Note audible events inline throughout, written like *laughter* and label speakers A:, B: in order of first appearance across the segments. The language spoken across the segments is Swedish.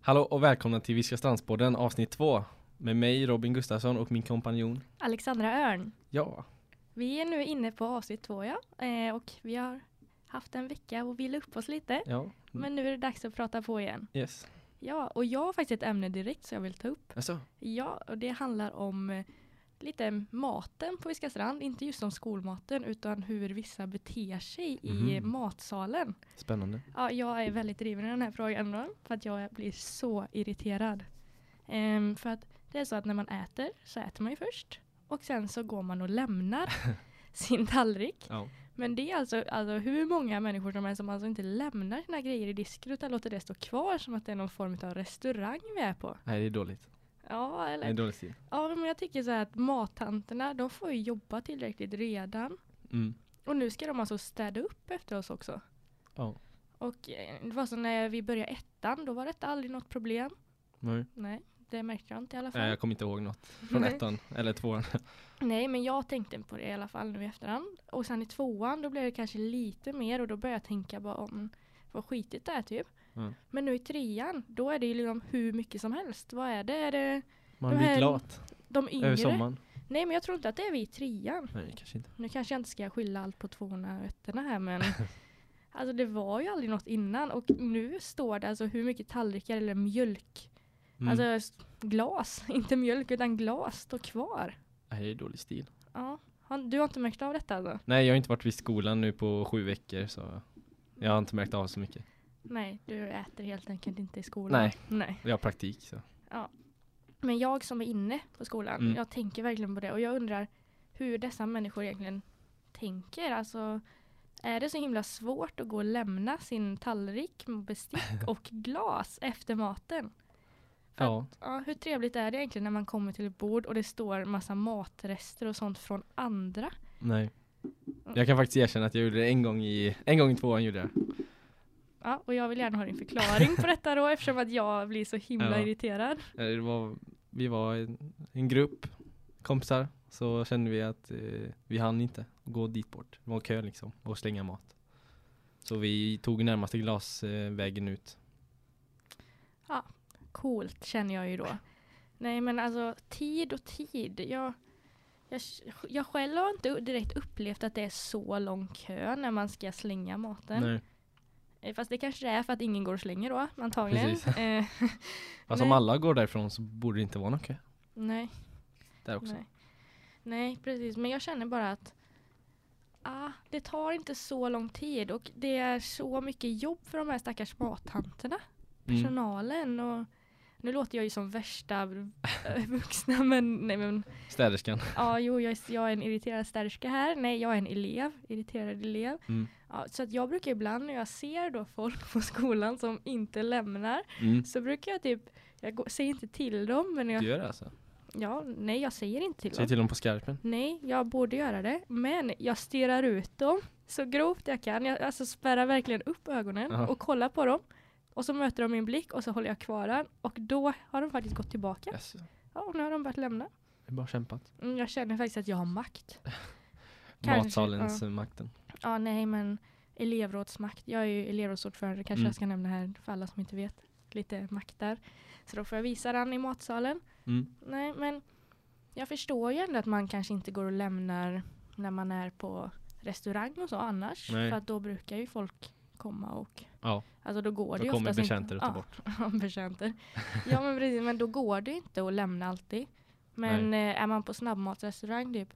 A: Hallå och välkomna till Viskastranspodden avsnitt 2 med mig Robin Gustafsson och min kompanjon.
B: Alexandra Örn.
A: Ja,
B: Vi är nu inne på avsnitt två ja. Eh, och vi har haft en vecka och vila upp oss lite.
A: ja,
B: Men nu är det dags att prata på igen.
A: yes.
B: Ja, och jag har faktiskt ett ämne direkt som jag vill ta upp.
A: Alltså,
B: Ja, och det handlar om eh, lite maten på Viskastrand. Inte just om skolmaten utan hur vissa beter sig i
A: Mhm.
B: matsalen.
A: spännande.
B: Ja, jag är väldigt driven i den här frågan då, för att jag blir så irriterad. Ehm, för att det är så att när man äter så äter man ju först och sen så går man och lämnar sin tallrik.
A: Ja.
B: Men det är alltså, alltså hur många människor som är som alltså inte lämnar sina grejer i disken utan låter det stå kvar som att det är någon form av restaurang vi är på.
A: Nej, det är dåligt.
B: Ja,
A: Det är
B: eller,
A: dålig stil.
B: ja men jag tycker så här att mattanterna, de får ju jobba tillräckligt redan.
A: Mm.
B: Och nu ska de alltså städa upp efter oss också.
A: Ja.
B: Och eh, det var så när vi började ettan, då var detta aldrig något problem.
A: Nej.
B: Nej, det märkte jag inte i alla fall.
A: Nej, jag kommer inte ihåg något från
B: Nej.
A: ettan eller tvåan.
B: Nej, men jag tänkte på det i alla fall nu i efterhand. Och sen i tvåan, då blev det kanske lite mer och då började jag tänka bara om vad skitigt det är typ.
A: Mm.
B: Men nu i trean, då är det ju liksom hur mycket som helst. Vad är det? Är det
A: Man
B: De
A: blir
B: här
A: lat
B: de
A: över
B: yngre?
A: sommaren.
B: Nej, men jag tror inte att det är vi i trean.
A: Nej, kanske inte.
B: Nu kanske jag inte ska skylla allt på tvåorna och ettorna
A: *laughs*
B: här, men alltså det var ju aldrig något innan. Och nu står det alltså hur mycket tallrikar eller mjölk
A: Mm.
B: Alltså s- glas, *laughs* inte mjölk utan glas står kvar.
A: Nej, det är dålig stil.
B: Ja. Har- Du har inte märkt av detta alltså?
A: Nej, jag har inte varit vid skolan nu på sju veckor så jag har inte märkt av så mycket.
B: Nej, du äter helt enkelt inte i skolan.
A: Nej.
B: Nej.
A: Jag har praktik så.
B: Men jag som är inne på skolan,
A: Mm.
B: jag tänker verkligen på det och jag undrar hur dessa människor egentligen tänker. Alltså, är det så himla svårt att gå och lämna sin tallrik,
A: *laughs*
B: bestick och glas efter maten? För
A: Ja.
B: Ja, hur trevligt är det egentligen när man kommer till ett bord och det står massa matrester och sånt från andra?
A: Nej.
B: Mm.
A: Jag kan faktiskt erkänna att jag gjorde det en gång i, en gång i tvåan gjorde jag.
B: Ja, och jag vill gärna ha din
A: *laughs*
B: förklaring på detta då eftersom att jag blir så himla
A: Ja.
B: irriterad.
A: Eh, Det var, vi var en, en grupp kompisar så kände vi att eh, vi hann inte gå dit bort. Det var kö liksom och slänga mat. Så vi tog närmaste glasvägen ut.
B: Coolt känner jag ju då. Nej men alltså tid och tid. Jag, jag, jag själv har inte direkt upplevt att det är så lång kö när man ska slänga maten.
A: Nej.
B: Eh, Fast det kanske det är för att ingen går och slänger då antagligen.
A: Precis.
B: *laughs* Eh,
A: Fast om
B: Nej.
A: alla går därifrån så borde det inte vara någon kö
B: nej,
A: där också.
B: nej. Nej precis men jag känner bara att ah, det tar inte så lång tid och det är så mycket jobb för de här stackars mattanterna.
A: Mm.
B: personalen och nu låter jag ju som värsta eh, *laughs* vuxna men nej men
A: Städerskan.
B: ja jo jag, är- jag är en irriterad stärska här nej jag är en elev irriterad elev
A: Mm.
B: ja, så att jag brukar ibland när jag ser då folk *laughs* på skolan som inte lämnar
A: Mm.
B: så brukar jag typ jag går, säger inte till dem men
A: Du
B: jag,
A: gör *laughs* det alltså?
B: ja nej jag säger inte till
A: Säg
B: dem
A: till dem på skarpen.
B: nej jag borde göra det men jag stirrar ut dem så grovt jag kan jag alltså spärrar verkligen upp ögonen
A: Jaha.
B: och kollar på dem och så möter de min blick och så håller jag kvar den och då har de faktiskt gått tillbaka.
A: Yes.
B: Ja, och nu har de börjat lämna.
A: Det är bara kämpat.
B: Mm, jag känner faktiskt att jag har makt. Kanske,
A: Matsalens eh, makten.
B: Ja, nej men elevrådsmakt. Jag är ju elevrådsordförande kanske
A: Mm.
B: jag ska nämna här för alla som inte vet. Lite makt där. Så då får jag visa den i matsalen.
A: Mm.
B: Nej men jag förstår ju ändå att man kanske inte går och lämnar när man är på restaurang och så annars.
A: Nej.
B: För att då brukar ju folk komma och
A: Ja,
B: Alltså då går det
A: då
B: ju
A: kommer
B: oftast inte-
A: betjänter och tar
B: *laughs* Ja.
A: bort.
B: Betjänter. Ja men precis, men då går det inte att lämna alltid. Men eh, är man på snabbmatsrestaurang typ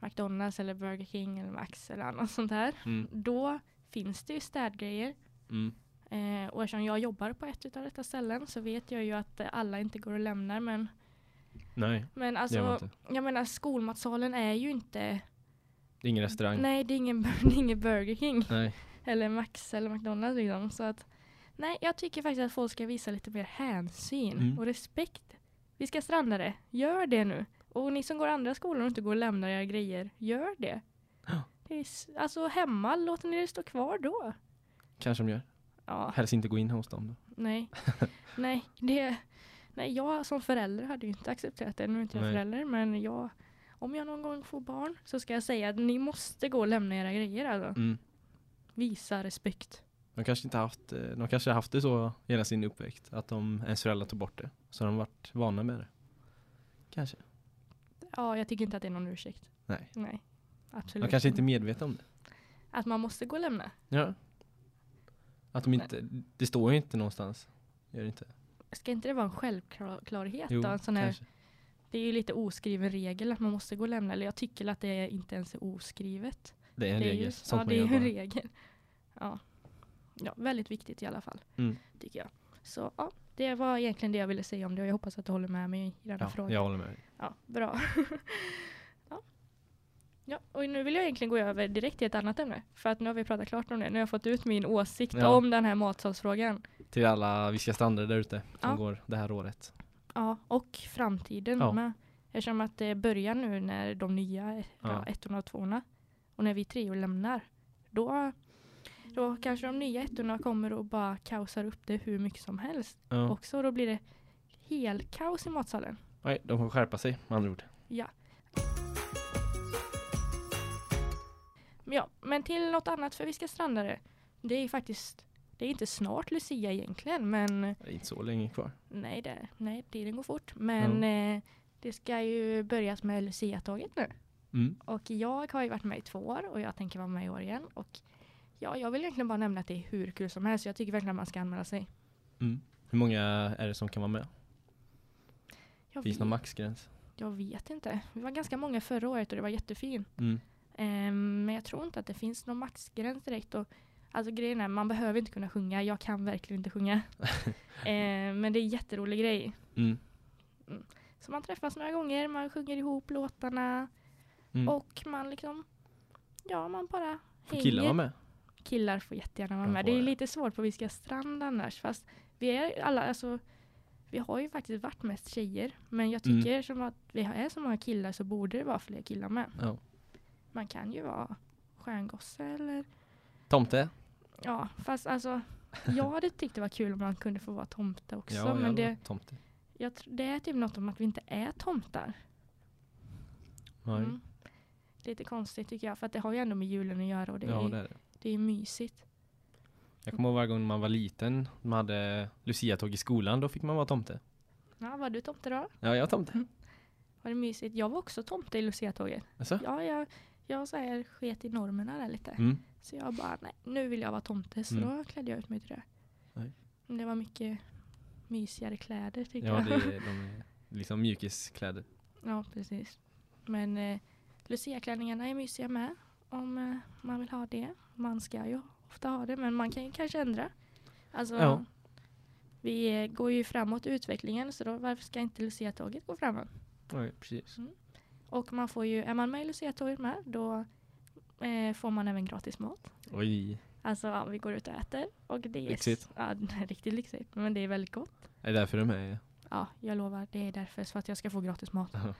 B: McDonalds eller Burger King eller Max eller annat sånt här.
A: Mm.
B: Då finns det ju städgrejer.
A: Mm.
B: Eh, och eftersom jag jobbar på ett utav detta ställen så vet jag ju att eh, alla inte går och lämnar. Men,
A: Nej,
B: men
A: det gör man
B: alltså,
A: inte.
B: jag menar skolmatsalen är ju inte,
A: Det är ingen restaurang.
B: nej det är ingen, *laughs* det är ingen Burger King.
A: Nej.
B: Eller Max eller McDonalds liksom. Så att, nej, jag tycker faktiskt att folk ska visa lite mer hänsyn
A: Mm.
B: och respekt. Vi ska stranda det. Gör det nu. Och ni som går andra skolor och inte går och lämnar era grejer, gör det.
A: Ja.
B: det är, s- alltså hemma, låter ni det stå kvar då?
A: Kanske de gör.
B: Ja,
A: Helst inte gå in hos dem. Då. *laughs*
B: nej. nej, det, nej, jag som förälder hade ju inte accepterat det. Nu är inte jag
A: Nej.
B: förälder, men jag, om jag någon gång får barn så ska jag säga att ni måste gå och lämna era grejer. Alltså.
A: Mm.
B: Visa respekt.
A: De kanske inte haft, eh, de kanske haft det så hela sin uppväxt. Att de, ens föräldrar tog bort det. Så de varit vana med det. Kanske.
B: Ja, jag tycker inte att det är någon ursäkt.
A: Nej.
B: Nej, absolut.
A: De kanske inte är medvetna om det.
B: Att man måste gå och lämna.
A: Ja. Att de
B: Nej.
A: inte, det står ju inte någonstans. Gör det inte?
B: Ska inte det vara en självklarhet då? En sån här,
A: kanske.
B: det är ju lite oskriven regel att man måste gå och lämna. Eller jag tycker att det inte ens är oskrivet.
A: Det är en
B: det är
A: regel.
B: ju,
A: sånt
B: ja,
A: man
B: det är
A: gör
B: ju en
A: bara.
B: regel. Ja. ja, väldigt viktigt i alla fall.
A: Mm.
B: Tycker jag. Så ja, det var egentligen det jag ville säga om det. Och jag hoppas att du håller med mig i den här
A: Ja,
B: frågan.
A: jag håller med. dig.
B: Ja, bra. *laughs* ja. ja, och nu vill jag egentligen gå över direkt till ett annat ämne. För att nu har vi pratat klart om det. Nu har jag fått ut min åsikt
A: Ja.
B: om den här matsalsfrågan.
A: Till alla Viska Strandare där ute som
B: Ja.
A: går det här året.
B: Ja, och framtiden
A: Ja.
B: med. Eftersom att det börjar nu när de nya ja.
A: Ja.
B: ettorna och tvåorna och när vi treor lämnar. Då, då kanske de nya ettorna kommer och bara kaosar upp det hur mycket som helst.
A: Ja.
B: Också då blir det helkaos i matsalen.
A: Nej, de får skärpa sig med andra ord.
B: Ja. Men Ja, men till något annat för Viska Strandare. Det är faktiskt, det är inte snart Lucia egentligen, men
A: Det är inte så länge kvar.
B: nej, det, nej tiden går fort. Men eh, det ska ju börjas med Lucia-tåget nu.
A: Mm.
B: Och jag har ju varit med i två år och jag tänker vara med i år igen. Och ja, jag vill egentligen bara nämna att det är hur kul som helst. Jag tycker verkligen att man ska anmäla sig.
A: Mm. Hur många är det som kan vara med?
B: Jag
A: Finns det någon
B: vet,
A: maxgräns?
B: jag vet inte. Vi var ganska många förra året och det var jättefint.
A: Mm.
B: Ehm, Men jag tror inte att det finns någon maxgräns direkt. Och, alltså grejen är, man behöver inte kunna sjunga. Jag kan verkligen
A: *laughs*
B: inte sjunga. Ehm, men det är en jätterolig grej.
A: Mm.
B: Så man träffas några gånger, man sjunger ihop låtarna
A: Mm.
B: och man liksom, ja man bara
A: Får killar vara med?
B: Killar får jättegärna vara
A: De
B: med.
A: får
B: Det är
A: det.
B: lite svårt på Viska strand annars. Fast vi är alla, alltså, vi har ju faktiskt varit mest tjejer. Men jag
A: Mm.
B: tycker som att vi är så många killar så borde det vara fler killar med.
A: Ja.
B: Man kan ju vara stjärngosse eller
A: Tomte?
B: Ja, fast alltså jag hade tyckt det var kul om man kunde få vara tomte också.
A: Ja,
B: men
A: jävlar,
B: det,
A: Tomte.
B: jag, tr- det är typ något om att vi inte är tomtar.
A: Nej.
B: Mm. Lite konstigt tycker jag, för att det har ju ändå med julen att göra och det,
A: Ja,
B: är,
A: det
B: det.
A: är det.
B: är mysigt.
A: Jag kommer ihåg varje gång man var liten, man hade Lucia-tåg i skolan, då fick man vara tomte. Mm.
B: Ja, var du tomte då?
A: Ja, jag är tomte.
B: Var det mysigt? Jag var också tomte i Lucia-tåget.
A: Alltså?
B: Ja, jag, jag så här, sket i normerna där lite.
A: Mm.
B: Så jag bara, nej, nu vill jag vara tomte. Så
A: Mm.
B: då klädde jag ut mig till det.
A: Nej.
B: Men det var mycket mysigare kläder tycker
A: Ja,
B: jag.
A: det är, de är liksom mjukiskläder.
B: Ja, precis. Men eh, luciaklänningarna är mysiga med om eh, man vill ha det. Man ska ju ofta ha det, men man kan ju kanske ändra. Alltså,
A: Ja.
B: vi eh, går ju framåt i utvecklingen, så då varför ska inte luciatåget gå framåt?
A: Nej, precis.
B: Och man får ju, är man med i luciatåget med, då eh, får man även gratis mat.
A: Oj.
B: Alltså, ja, vi går ut och äter. Och det är,
A: Lyxigt.
B: Ja, *laughs* det är riktigt lyxigt, men det är väldigt gott.
A: Är det därför de är?
B: Ja, jag lovar. Det är därför. Så att jag ska få gratis mat.
A: Aha.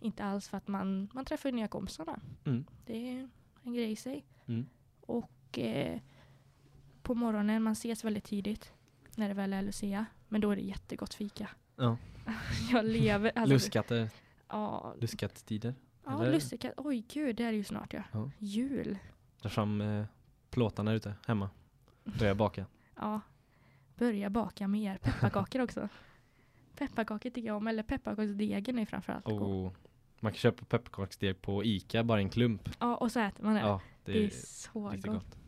B: Inte alls för att man, man träffar ju nya kompisarna.
A: Mm.
B: Det är en grej i sig.
A: Mm.
B: Och eh, på morgonen, man ses väldigt tidigt när det väl är Lucia. Men då är det jättegott fika.
A: Ja.
B: *laughs* Jag lever. Alltså,
A: Luskatter,
B: Ja,
A: eh, luskattider.
B: ja
A: eller?
B: lussekatt. Oj gud, det är ju snart ja.
A: Ja.
B: Jul.
A: Dra fram eh, plåtarna ute, hemma. Börja
B: *laughs*
A: baka.
B: Ja. Börja baka mer
A: *laughs*
B: pepparkakor också. Pepparkakor tycker jag om. Eller pepparkaksdegen är framförallt god.
A: Och Oh. man kan köpa pepparkaksdeg på Ica, bara en klump.
B: Ja, och så äter man det.
A: Ja, det,
B: det, är
A: är
B: så
A: riktigt
B: gott.
A: gott.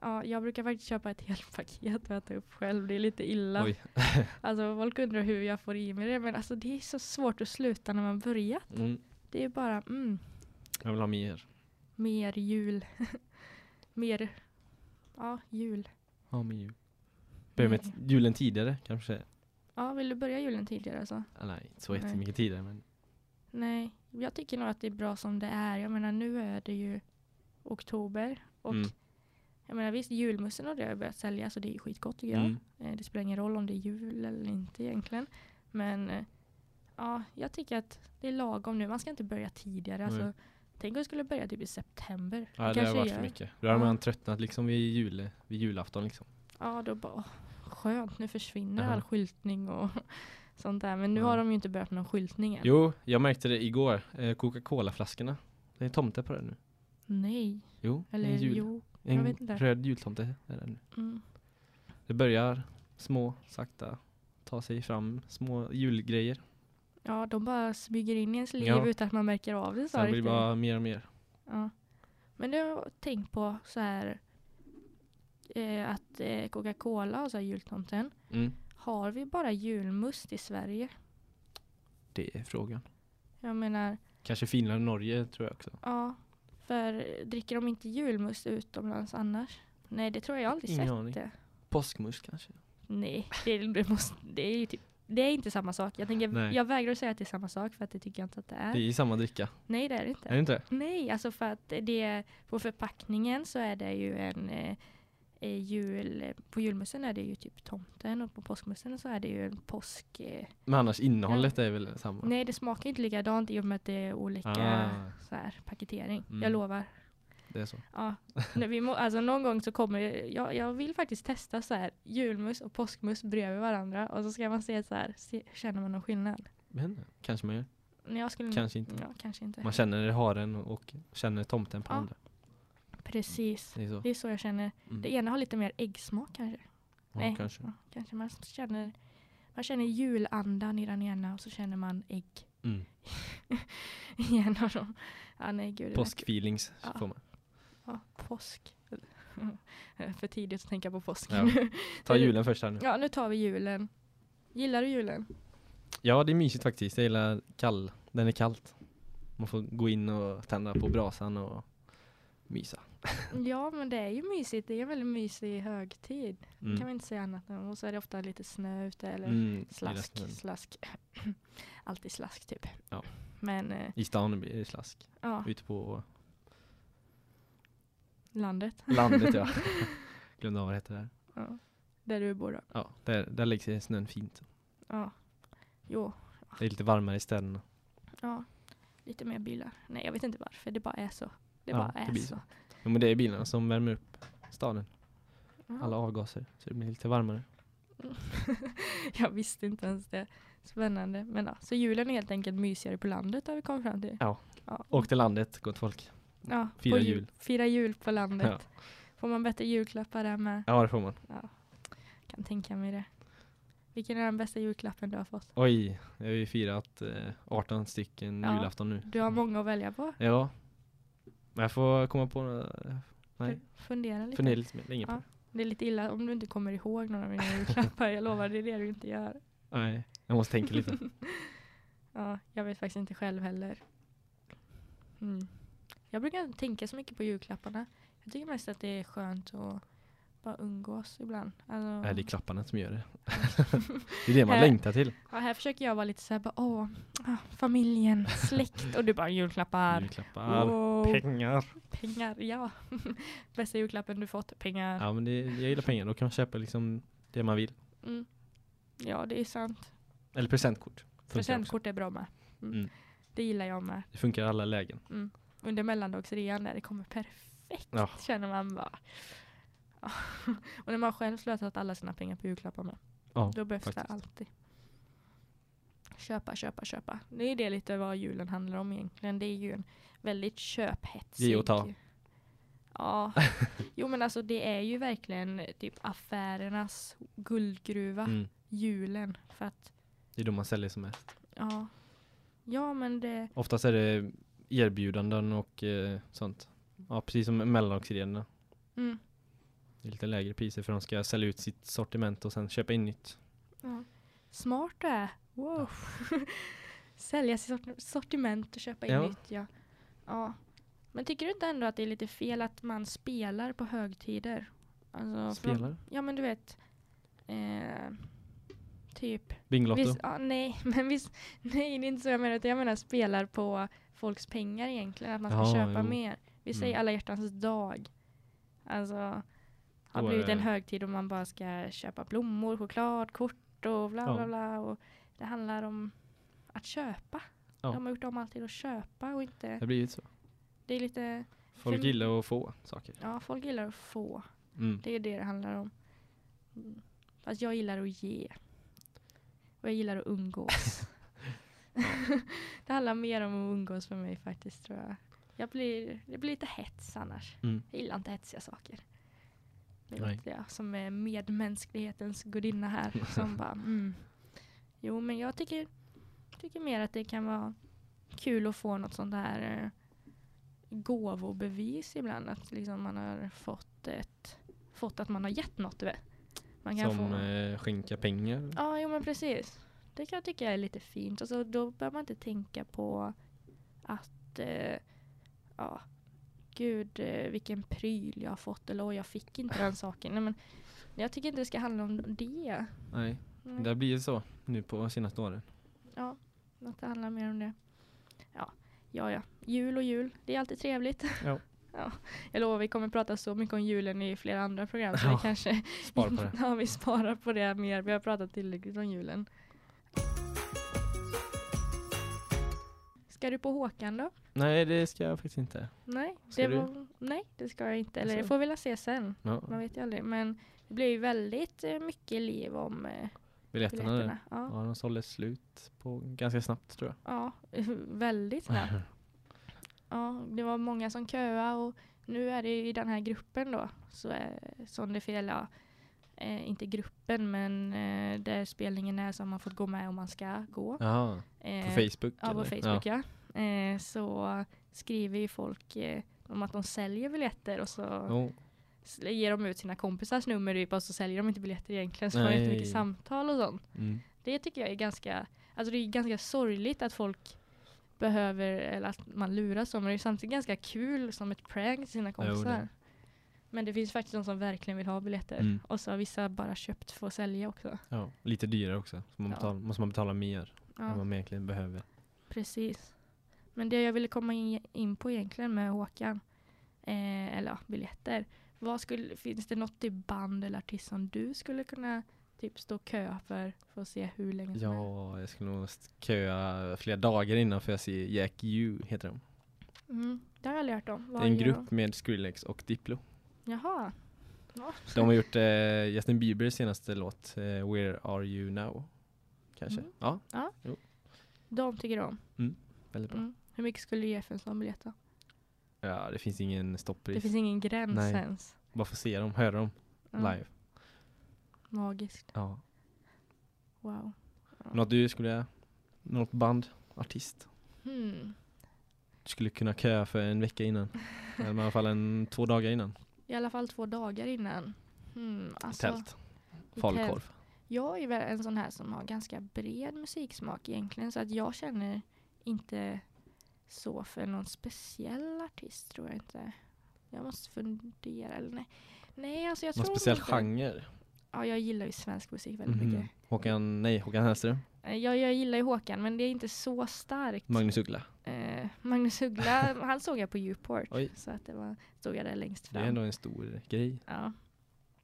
B: Ja, jag brukar faktiskt köpa ett helt paket och äta upp själv. Det är lite illa.
A: Oj. *laughs*
B: Alltså folk undrar hur jag får i mig det. Men alltså det är så svårt att sluta när man börjar.
A: Mm.
B: Det är bara mm,
A: Jag vill ha mer.
B: mer jul. *laughs* mer, ja jul.
A: Ja, men jul. Börja med
B: Mm.
A: t- julen tidigare kanske.
B: Ja, vill du börja julen tidigare alltså?
A: Ah, nej, inte så
B: Nej.
A: jättemycket tidigare. Men...
B: Nej, jag tycker nog att det är bra som det är. Jag menar nu är det ju oktober. Och
A: Mm.
B: jag menar visst julmusten och det har börjat säljas och det är ju skitgott tycker jag.
A: Mm.
B: Eh, Det spelar ingen roll om det är jul eller inte egentligen. Men eh, ja, jag tycker att det är lagom nu. Man ska inte börja tidigare. Alltså,
A: Nej.
B: tänk om jag skulle börja typ i september.
A: Ja, det
B: kanske
A: har varit
B: gör.
A: för mycket. Då har
B: Ja.
A: man tröttnat liksom vid, jul, vid julafton liksom.
B: Ja, då bara åh, skönt. Nu försvinner
A: Jaha.
B: all skyltning och *laughs* sånt där. Men nu
A: Ja.
B: har de ju inte börjat med någon skyltning än.
A: Jo, jag märkte det igår. Eh, Coca-Cola-flaskorna. Det är tomte på det nu.
B: Nej,
A: Jo, det är
B: eller
A: jul.
B: jo. Jag
A: En
B: vet inte.
A: röd jultomte är det nu.
B: Mm.
A: Det börjar små, sakta ta sig fram små julgrejer.
B: Ja, de bara smyger in i ens liv
A: Ja.
B: utan att man märker av det. Så
A: Sen blir det
B: riktigt.
A: bara mer och mer.
B: Ja. Men det har jag tänkt på så här eh, att eh, Coca-Cola, alltså jultomten,
A: Mm.
B: har vi bara julmust i Sverige?
A: Det är frågan.
B: Jag menar,
A: Kanske Finland och Norge tror jag också.
B: ja, för dricker de inte julmust utomlands annars? Nej, det tror jag, jag har aldrig
A: Ingen
B: sett
A: aning.
B: det.
A: Påskmust kanske.
B: Nej, det, det, måste, det är ju typ det är inte samma sak. Jag, tänker,
A: Nej.
B: jag vägrar att säga att det är samma sak för att det tycker jag inte att det är.
A: Det är samma dricka.
B: Nej, det är det inte.
A: Är det inte det?
B: Nej, alltså för att det på förpackningen så är det ju en eh, eh, jul, på julmusten är det ju typ tomten och på påskmusten så är det ju en påsk. Eh,
A: Men annars innehållet är väl samma?
B: nej, det smakar ju inte likadant i och med att det är olika
A: Ah.
B: så här, paketering.
A: Mm.
B: Jag lovar.
A: Det är så.
B: Ja. Nej, vi må, alltså någon gång så kommer jag, jag vill faktiskt testa så här julmust och påskmust bredvid varandra och så ska man se så här, se, känner man någon skillnad?
A: Men kanske man gör.
B: Nej, jag skulle
A: Kanske inte.
B: Ja, kanske inte.
A: Man känner haren och känner tomten på
B: Ja.
A: andra.
B: Precis.
A: Det är så.
B: Det är så jag känner.
A: Mm.
B: Det ena har lite mer äggsmak kanske.
A: Ja,
B: nej.
A: Kanske.
B: Ja, kanske man känner, man känner julandan i den ena och så känner man ägg *laughs*
A: Mm.
B: i en av dem. Ja, nej, gud, det
A: Påskfeelings
B: Ja.
A: får
B: *laughs*
A: man.
B: där- Ja, påsk. *laughs* För tidigt att tänka på påsk.
A: Ja. Ta julen först här nu.
B: *laughs* ja, nu tar vi julen. Gillar du julen?
A: Ja, det är mysigt faktiskt. Jag gillar kall. Den är kallt. Man får gå in och tända på brasan och mysa. Mm.
B: Ja, men det är ju mysigt. Det är en väldigt mysig högtid.
A: Mm.
B: Kan vi inte säga annat om. Och så är det ofta lite snö ute eller
A: Mm,
B: slask,
A: gillar snön.
B: slask. *laughs* Alltid slask typ.
A: Ja.
B: Men eh,
A: I stan blir det slask.
B: ja,
A: Ute på
B: landet.
A: landet
B: *laughs*
A: ja. Glömde av vad det heter där.
B: Ja. Där du bor då.
A: Ja, där, där lägger sig snön fint.
B: Ja. Jo,
A: Det är lite varmare i städerna.
B: Ja, lite mer bilar. Nej, jag vet inte varför. Det bara är så. Det
A: Ja,
B: bara är
A: det blir
B: så.
A: så. Jo, men det är bilarna som värmer upp staden.
B: Ja.
A: Alla avgaser. Så det blir lite varmare.
B: *laughs* jag visste inte ens det. Spännande. Men ja, så julen är helt enkelt mysigare på landet har vi kommit fram till.
A: Ja.
B: ja.
A: Åk till landet, gott folk.
B: ja,
A: fira
B: på ju-
A: jul.
B: Fira jul på landet. Får man bättre julklappar där med?
A: Ja, det får man.
B: Kan tänka mig det. Vilken är den bästa julklappen du har fått?
A: Oj, jag har ju firat eh, 18 stycken
B: Ja.
A: julafton nu.
B: Du har många att välja på.
A: Ja. Men jag får komma på några... Nej,
B: F- Fundera lite.
A: fundera lite mer länge på
B: Ja.
A: det.
B: Det är lite illa om du inte kommer ihåg någon av
A: *laughs*
B: mina julklappar. Jag lovar, det är det du inte gör.
A: Nej, jag måste tänka lite.
B: *laughs* Ja, jag vet faktiskt inte själv heller. Mm. Jag brukar inte tänka så mycket på julklapparna. Jag tycker mest att det är skönt att bara umgås ibland. Alltså,
A: Nej, Äh, det är klapparna som
B: *laughs*
A: gör det. det är det man
B: Eh.
A: längtar till.
B: ja, här försöker jag vara lite såhär, bara, åh, ah, familjen, släkt och du bara julklappar.
A: Julklappar.
B: Wow,
A: Pengar.
B: pengar, ja. *laughs* Bästa julklappen du fått, pengar.
A: Ja, men det, jag gillar pengar. Då kan man köpa liksom det man vill.
B: Mm. Ja, det är sant.
A: Eller presentkort. Funkar också.
B: Presentkort är bra med. Mm.
A: Mm.
B: Det gillar jag med.
A: Det funkar i alla lägen.
B: under mellandagsrean där det kommer perfekt
A: Ja.
B: känner man bara. Ja. *laughs* och när man själv slösat alla sina pengar på julklappar med.
A: Ja,
B: då behövs det
A: faktiskt.
B: alltid. Köpa, köpa, köpa. Det är det lite vad julen handlar om egentligen. Det är ju en väldigt köphetsig.
A: Ge och ta. *laughs*
B: Ja. Jo men alltså det är ju verkligen typ affärernas guldgruva.
A: Mm.
B: Julen. För att
A: Det är då man säljer som mest.
B: ja. Ja men det.
A: Oftast är det erbjudanden och eh, sånt. Ja, precis som mellandagsreorna.
B: Mm,
A: Det är lite lägre priser för de ska sälja ut sitt sortiment och sen köpa in nytt.
B: ja. Smart det är. Wow. *laughs* sälja sitt sort- sortiment och köpa in
A: Ja.
B: nytt. Ja. ja. Men tycker du inte ändå att det är lite fel att man spelar på högtider? Alltså, för de-
A: Spelar.
B: Ja men du vet. Eh, typ.
A: Bingolotto.
B: Visst, ja, nej, *laughs* men visst, nej det är inte så jag menar. Utan jag menar spelar på folks pengar egentligen. Att man ska
A: Ja,
B: köpa
A: jo.
B: mer. Vi
A: Mm.
B: säger alla hjärtans dag. Alltså. Har
A: Då är
B: blivit en
A: det-
B: högtid och man bara ska köpa blommor, choklad, kort och bla
A: Ja.
B: bla bla. Och det handlar om att köpa.
A: Ja.
B: De har gjort om allt till att köpa och
A: Det
B: inte.
A: har blivit så.
B: Det är lite,
A: Folk
B: För-
A: gillar att få saker.
B: ja folk gillar att få.
A: Mm.
B: Det är ju det det handlar om. Mm. Fast jag gillar att ge. Och jag gillar
A: *laughs*
B: att umgås. det handlar mer om att umgås för mig faktiskt tror jag. Jag blir, det blir lite hets annars.
A: Mm.
B: Jag gillar inte hetsiga saker. Det
A: Nej.
B: vet jag som är medmänsklighetens gudinna här.
A: *laughs*
B: som bara, mm. Jo, men jag tycker, tycker mer att det kan vara kul att få något sånt här eh, gåvobevis ibland. Att liksom man har fått, ett, fått att man har gett något. du vet. Man kan
A: Som
B: få,
A: eh, skänka pengar.
B: Ja, jo men precis. Det kan jag tycka är lite fint. Alltså, då behöver man inte tänka på att eh, ja, gud eh, vilken pryl jag har fått eller oj jag fick inte den saken. Nej, men jag tycker inte det ska handla om det.
A: Nej,
B: Mm.
A: det har blivit så nu på senaste åren.
B: Ja, att det handlar mer om det. Ja, ja, ja. Jul och jul, det är alltid trevligt.
A: Ja.
B: *laughs* Ja, jag lovar, vi kommer prata så mycket om julen i flera andra program så
A: Ja,
B: vi kanske
A: Spara på det.
B: *laughs* ja, vi sparar på det mer. Vi har pratat tillräckligt om julen. Ska du på Håkan då?
A: Nej, det ska jag faktiskt inte.
B: Nej,
A: Ska
B: det
A: du?
B: var, nej, det ska jag inte. Eller det
A: Jaså?
B: får vi väl se sen.
A: Ja,
B: Man vet ju aldrig. Men det blir ju väldigt eh, mycket liv om eh,
A: biljetterna,
B: biljetterna.
A: Där.
B: Ja.
A: Ja, de sålde slut på ganska snabbt tror jag.
B: Ja, *laughs*
A: *laughs*
B: väldigt snabbt. Ja, det var många som köade och nu är det ju i den här gruppen då så är, som det fel, ja, eh, inte gruppen men eh, där spelningen är som man fått gå med om man ska gå.
A: Jaha, på
B: Eh,
A: Facebook?
B: Ja, på
A: eller?
B: Facebook ja. Eh, så skriver ju folk eh, om att de säljer biljetter och så
A: Jo,
B: s- ger de ut sina kompisars nummer typ, och så säljer de inte biljetter egentligen så får de
A: Nej.
B: jättemycket samtal och sånt.
A: mm.
B: Det tycker jag är ganska, alltså det är ganska sorgligt att folk behöver, eller att man luras om. Men det är samtidigt ganska kul som ett prank till sina kompisar.
A: det.
B: Men det finns faktiskt de som verkligen vill ha biljetter.
A: Mm.
B: Och så har vissa bara köpt för att sälja också.
A: ja, lite dyrare också. Så man
B: Ja.
A: betalar, måste man betala mer
B: Ja,
A: än vad man egentligen behöver.
B: precis. Men det jag ville komma in, in på egentligen med Håkan, eh, eller ja, biljetter. Vad skulle, finns det något i band eller artist som du skulle kunna typ stå kö för, för att se hur länge som helst?
A: Ja, jag skulle nog st- köa flera dagar innan för jag ser Jack U heter de.
B: Mm, det har jag aldrig hört om.
A: Det
B: Vad
A: är en
B: gör
A: grupp med Skrillex och Diplo.
B: de? Jaha. Ja.
A: De har gjort eh, Justin Biebers senaste låt, eh, Where Are You Now? Kanske?
B: Mm.
A: Ja,
B: De tycker du om.
A: väldigt bra.
B: Mm. Hur mycket skulle du ge för en sån biljett då?
A: Ja, det finns ingen
B: Det
A: stoppris.
B: finns Mm. ingen gräns
A: Nej.
B: ens.
A: Bara få se dem, höra dem
B: Ja,
A: live.
B: Magiskt.
A: Ja.
B: Wow.
A: Något du skulle, något band, artist,
B: Hmm.
A: du skulle kunna köa för en vecka
B: *laughs*
A: innan. Eller i alla fall en, två dagar innan.
B: I alla fall två dagar innan. Hmm. Alltså,
A: Tält,
B: i tält.
A: falukorv.
B: Jag är väl en sån här som har ganska bred musiksmak egentligen. Så att jag känner inte så för någon speciell artist tror jag inte. Jag måste fundera. Eller nej. Nej, alltså jag
A: Någon
B: tror
A: speciell
B: inte.
A: genre?
B: Ja, jag gillar ju svensk musik väldigt
A: Mhm.
B: mycket.
A: Håkan, nej, Håkan Hellström,
B: Eh, Jag, jag gillar ju Håkan, men det är inte så starkt.
A: Magnus Uggla.
B: Eh, Magnus Uggla,
A: *laughs*
B: han såg jag på Uport.
A: Oj.
B: Så att det var, såg jag där längst
A: Det
B: fram.
A: är ändå en stor grej.
B: ja.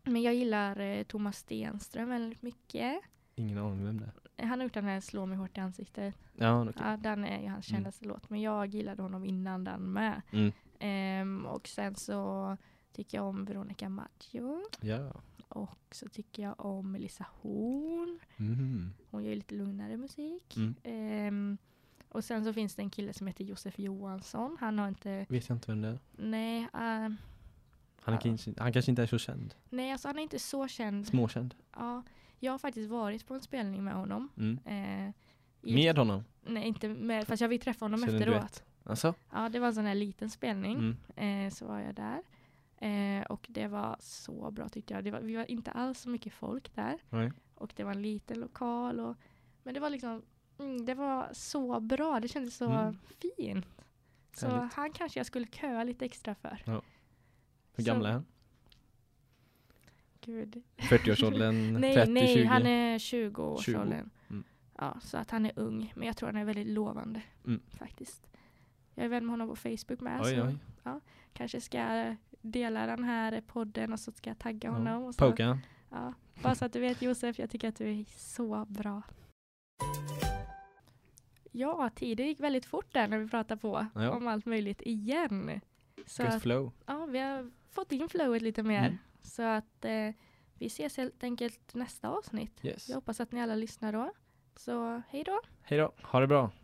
B: Men jag gillar eh, Thomas Stenström väldigt mycket.
A: Ingen aning vem det är.
B: Eh, Han har gjort den här Slå mig hårt i ansiktet.
A: Ja, okej.
B: Ja, den är ju hans
A: Mm.
B: kändaste låt. Men jag gillade honom innan den med.
A: Mm.
B: Ehm, och sen så tycker jag om Veronica Maggio.
A: Ja.
B: Och så tycker jag om Melissa Horn.
A: Mhm.
B: Hon gör ju lite lugnare musik.
A: Mm.
B: Ehm, och sen så finns det en kille som heter Josef Johansson. Han har inte,
A: Vet jag inte vem det är.
B: nej, eh,
A: Han, är
B: Ja.
A: kanske, han kanske inte är så känd.
B: Nej, alltså han är inte så känd.
A: Småkänd.
B: Ja, jag har faktiskt varit på en spelning med honom.
A: Mm.
B: Eh, i-
A: Med honom?
B: Nej, inte med, fast jag vill träffa honom
A: Sen en
B: efteråt.
A: duett. Alltså?
B: Ja, det var en sån här liten spelning.
A: Mm.
B: Eh, så var jag där. Eh, och det var så bra tyckte jag. Det var, vi var inte alls så mycket folk där.
A: Nej.
B: Och det var en liten lokal. Och, men det var liksom, mm, det var så bra. Det kändes så
A: Mm.
B: fint. Så
A: Härligt.
B: han kanske jag skulle köa lite extra för.
A: Hur
B: Så-
A: gammal är
B: *laughs*
A: han?
B: Gud,
A: 40-årsåldern?
B: Nej,
A: 30,
B: nej
A: 20?
B: han är 20-årsåldern.
A: 20, mm.
B: Ja, så att han är ung. Men jag tror han är väldigt lovande
A: Mm.
B: faktiskt. Jag är vän med honom på Facebook med.
A: Oj,
B: så
A: oj.
B: kanske ska dela den här podden och så ska jag tagga honom. Och så.
A: Poka han?
B: Ja, bara så att du vet Josef, jag tycker att du är så bra. Ja, tiden gick väldigt fort där när vi pratade på
A: Ja.
B: om allt möjligt igen. Så
A: Gött
B: att-
A: flow.
B: ja, vi har fått in flowet lite mer.
A: Mm.
B: Så att eh, vi ses helt enkelt nästa avsnitt.
A: Yes.
B: Jag hoppas att ni alla lyssnar då. Så hej då!
A: Hej då. Ha det bra.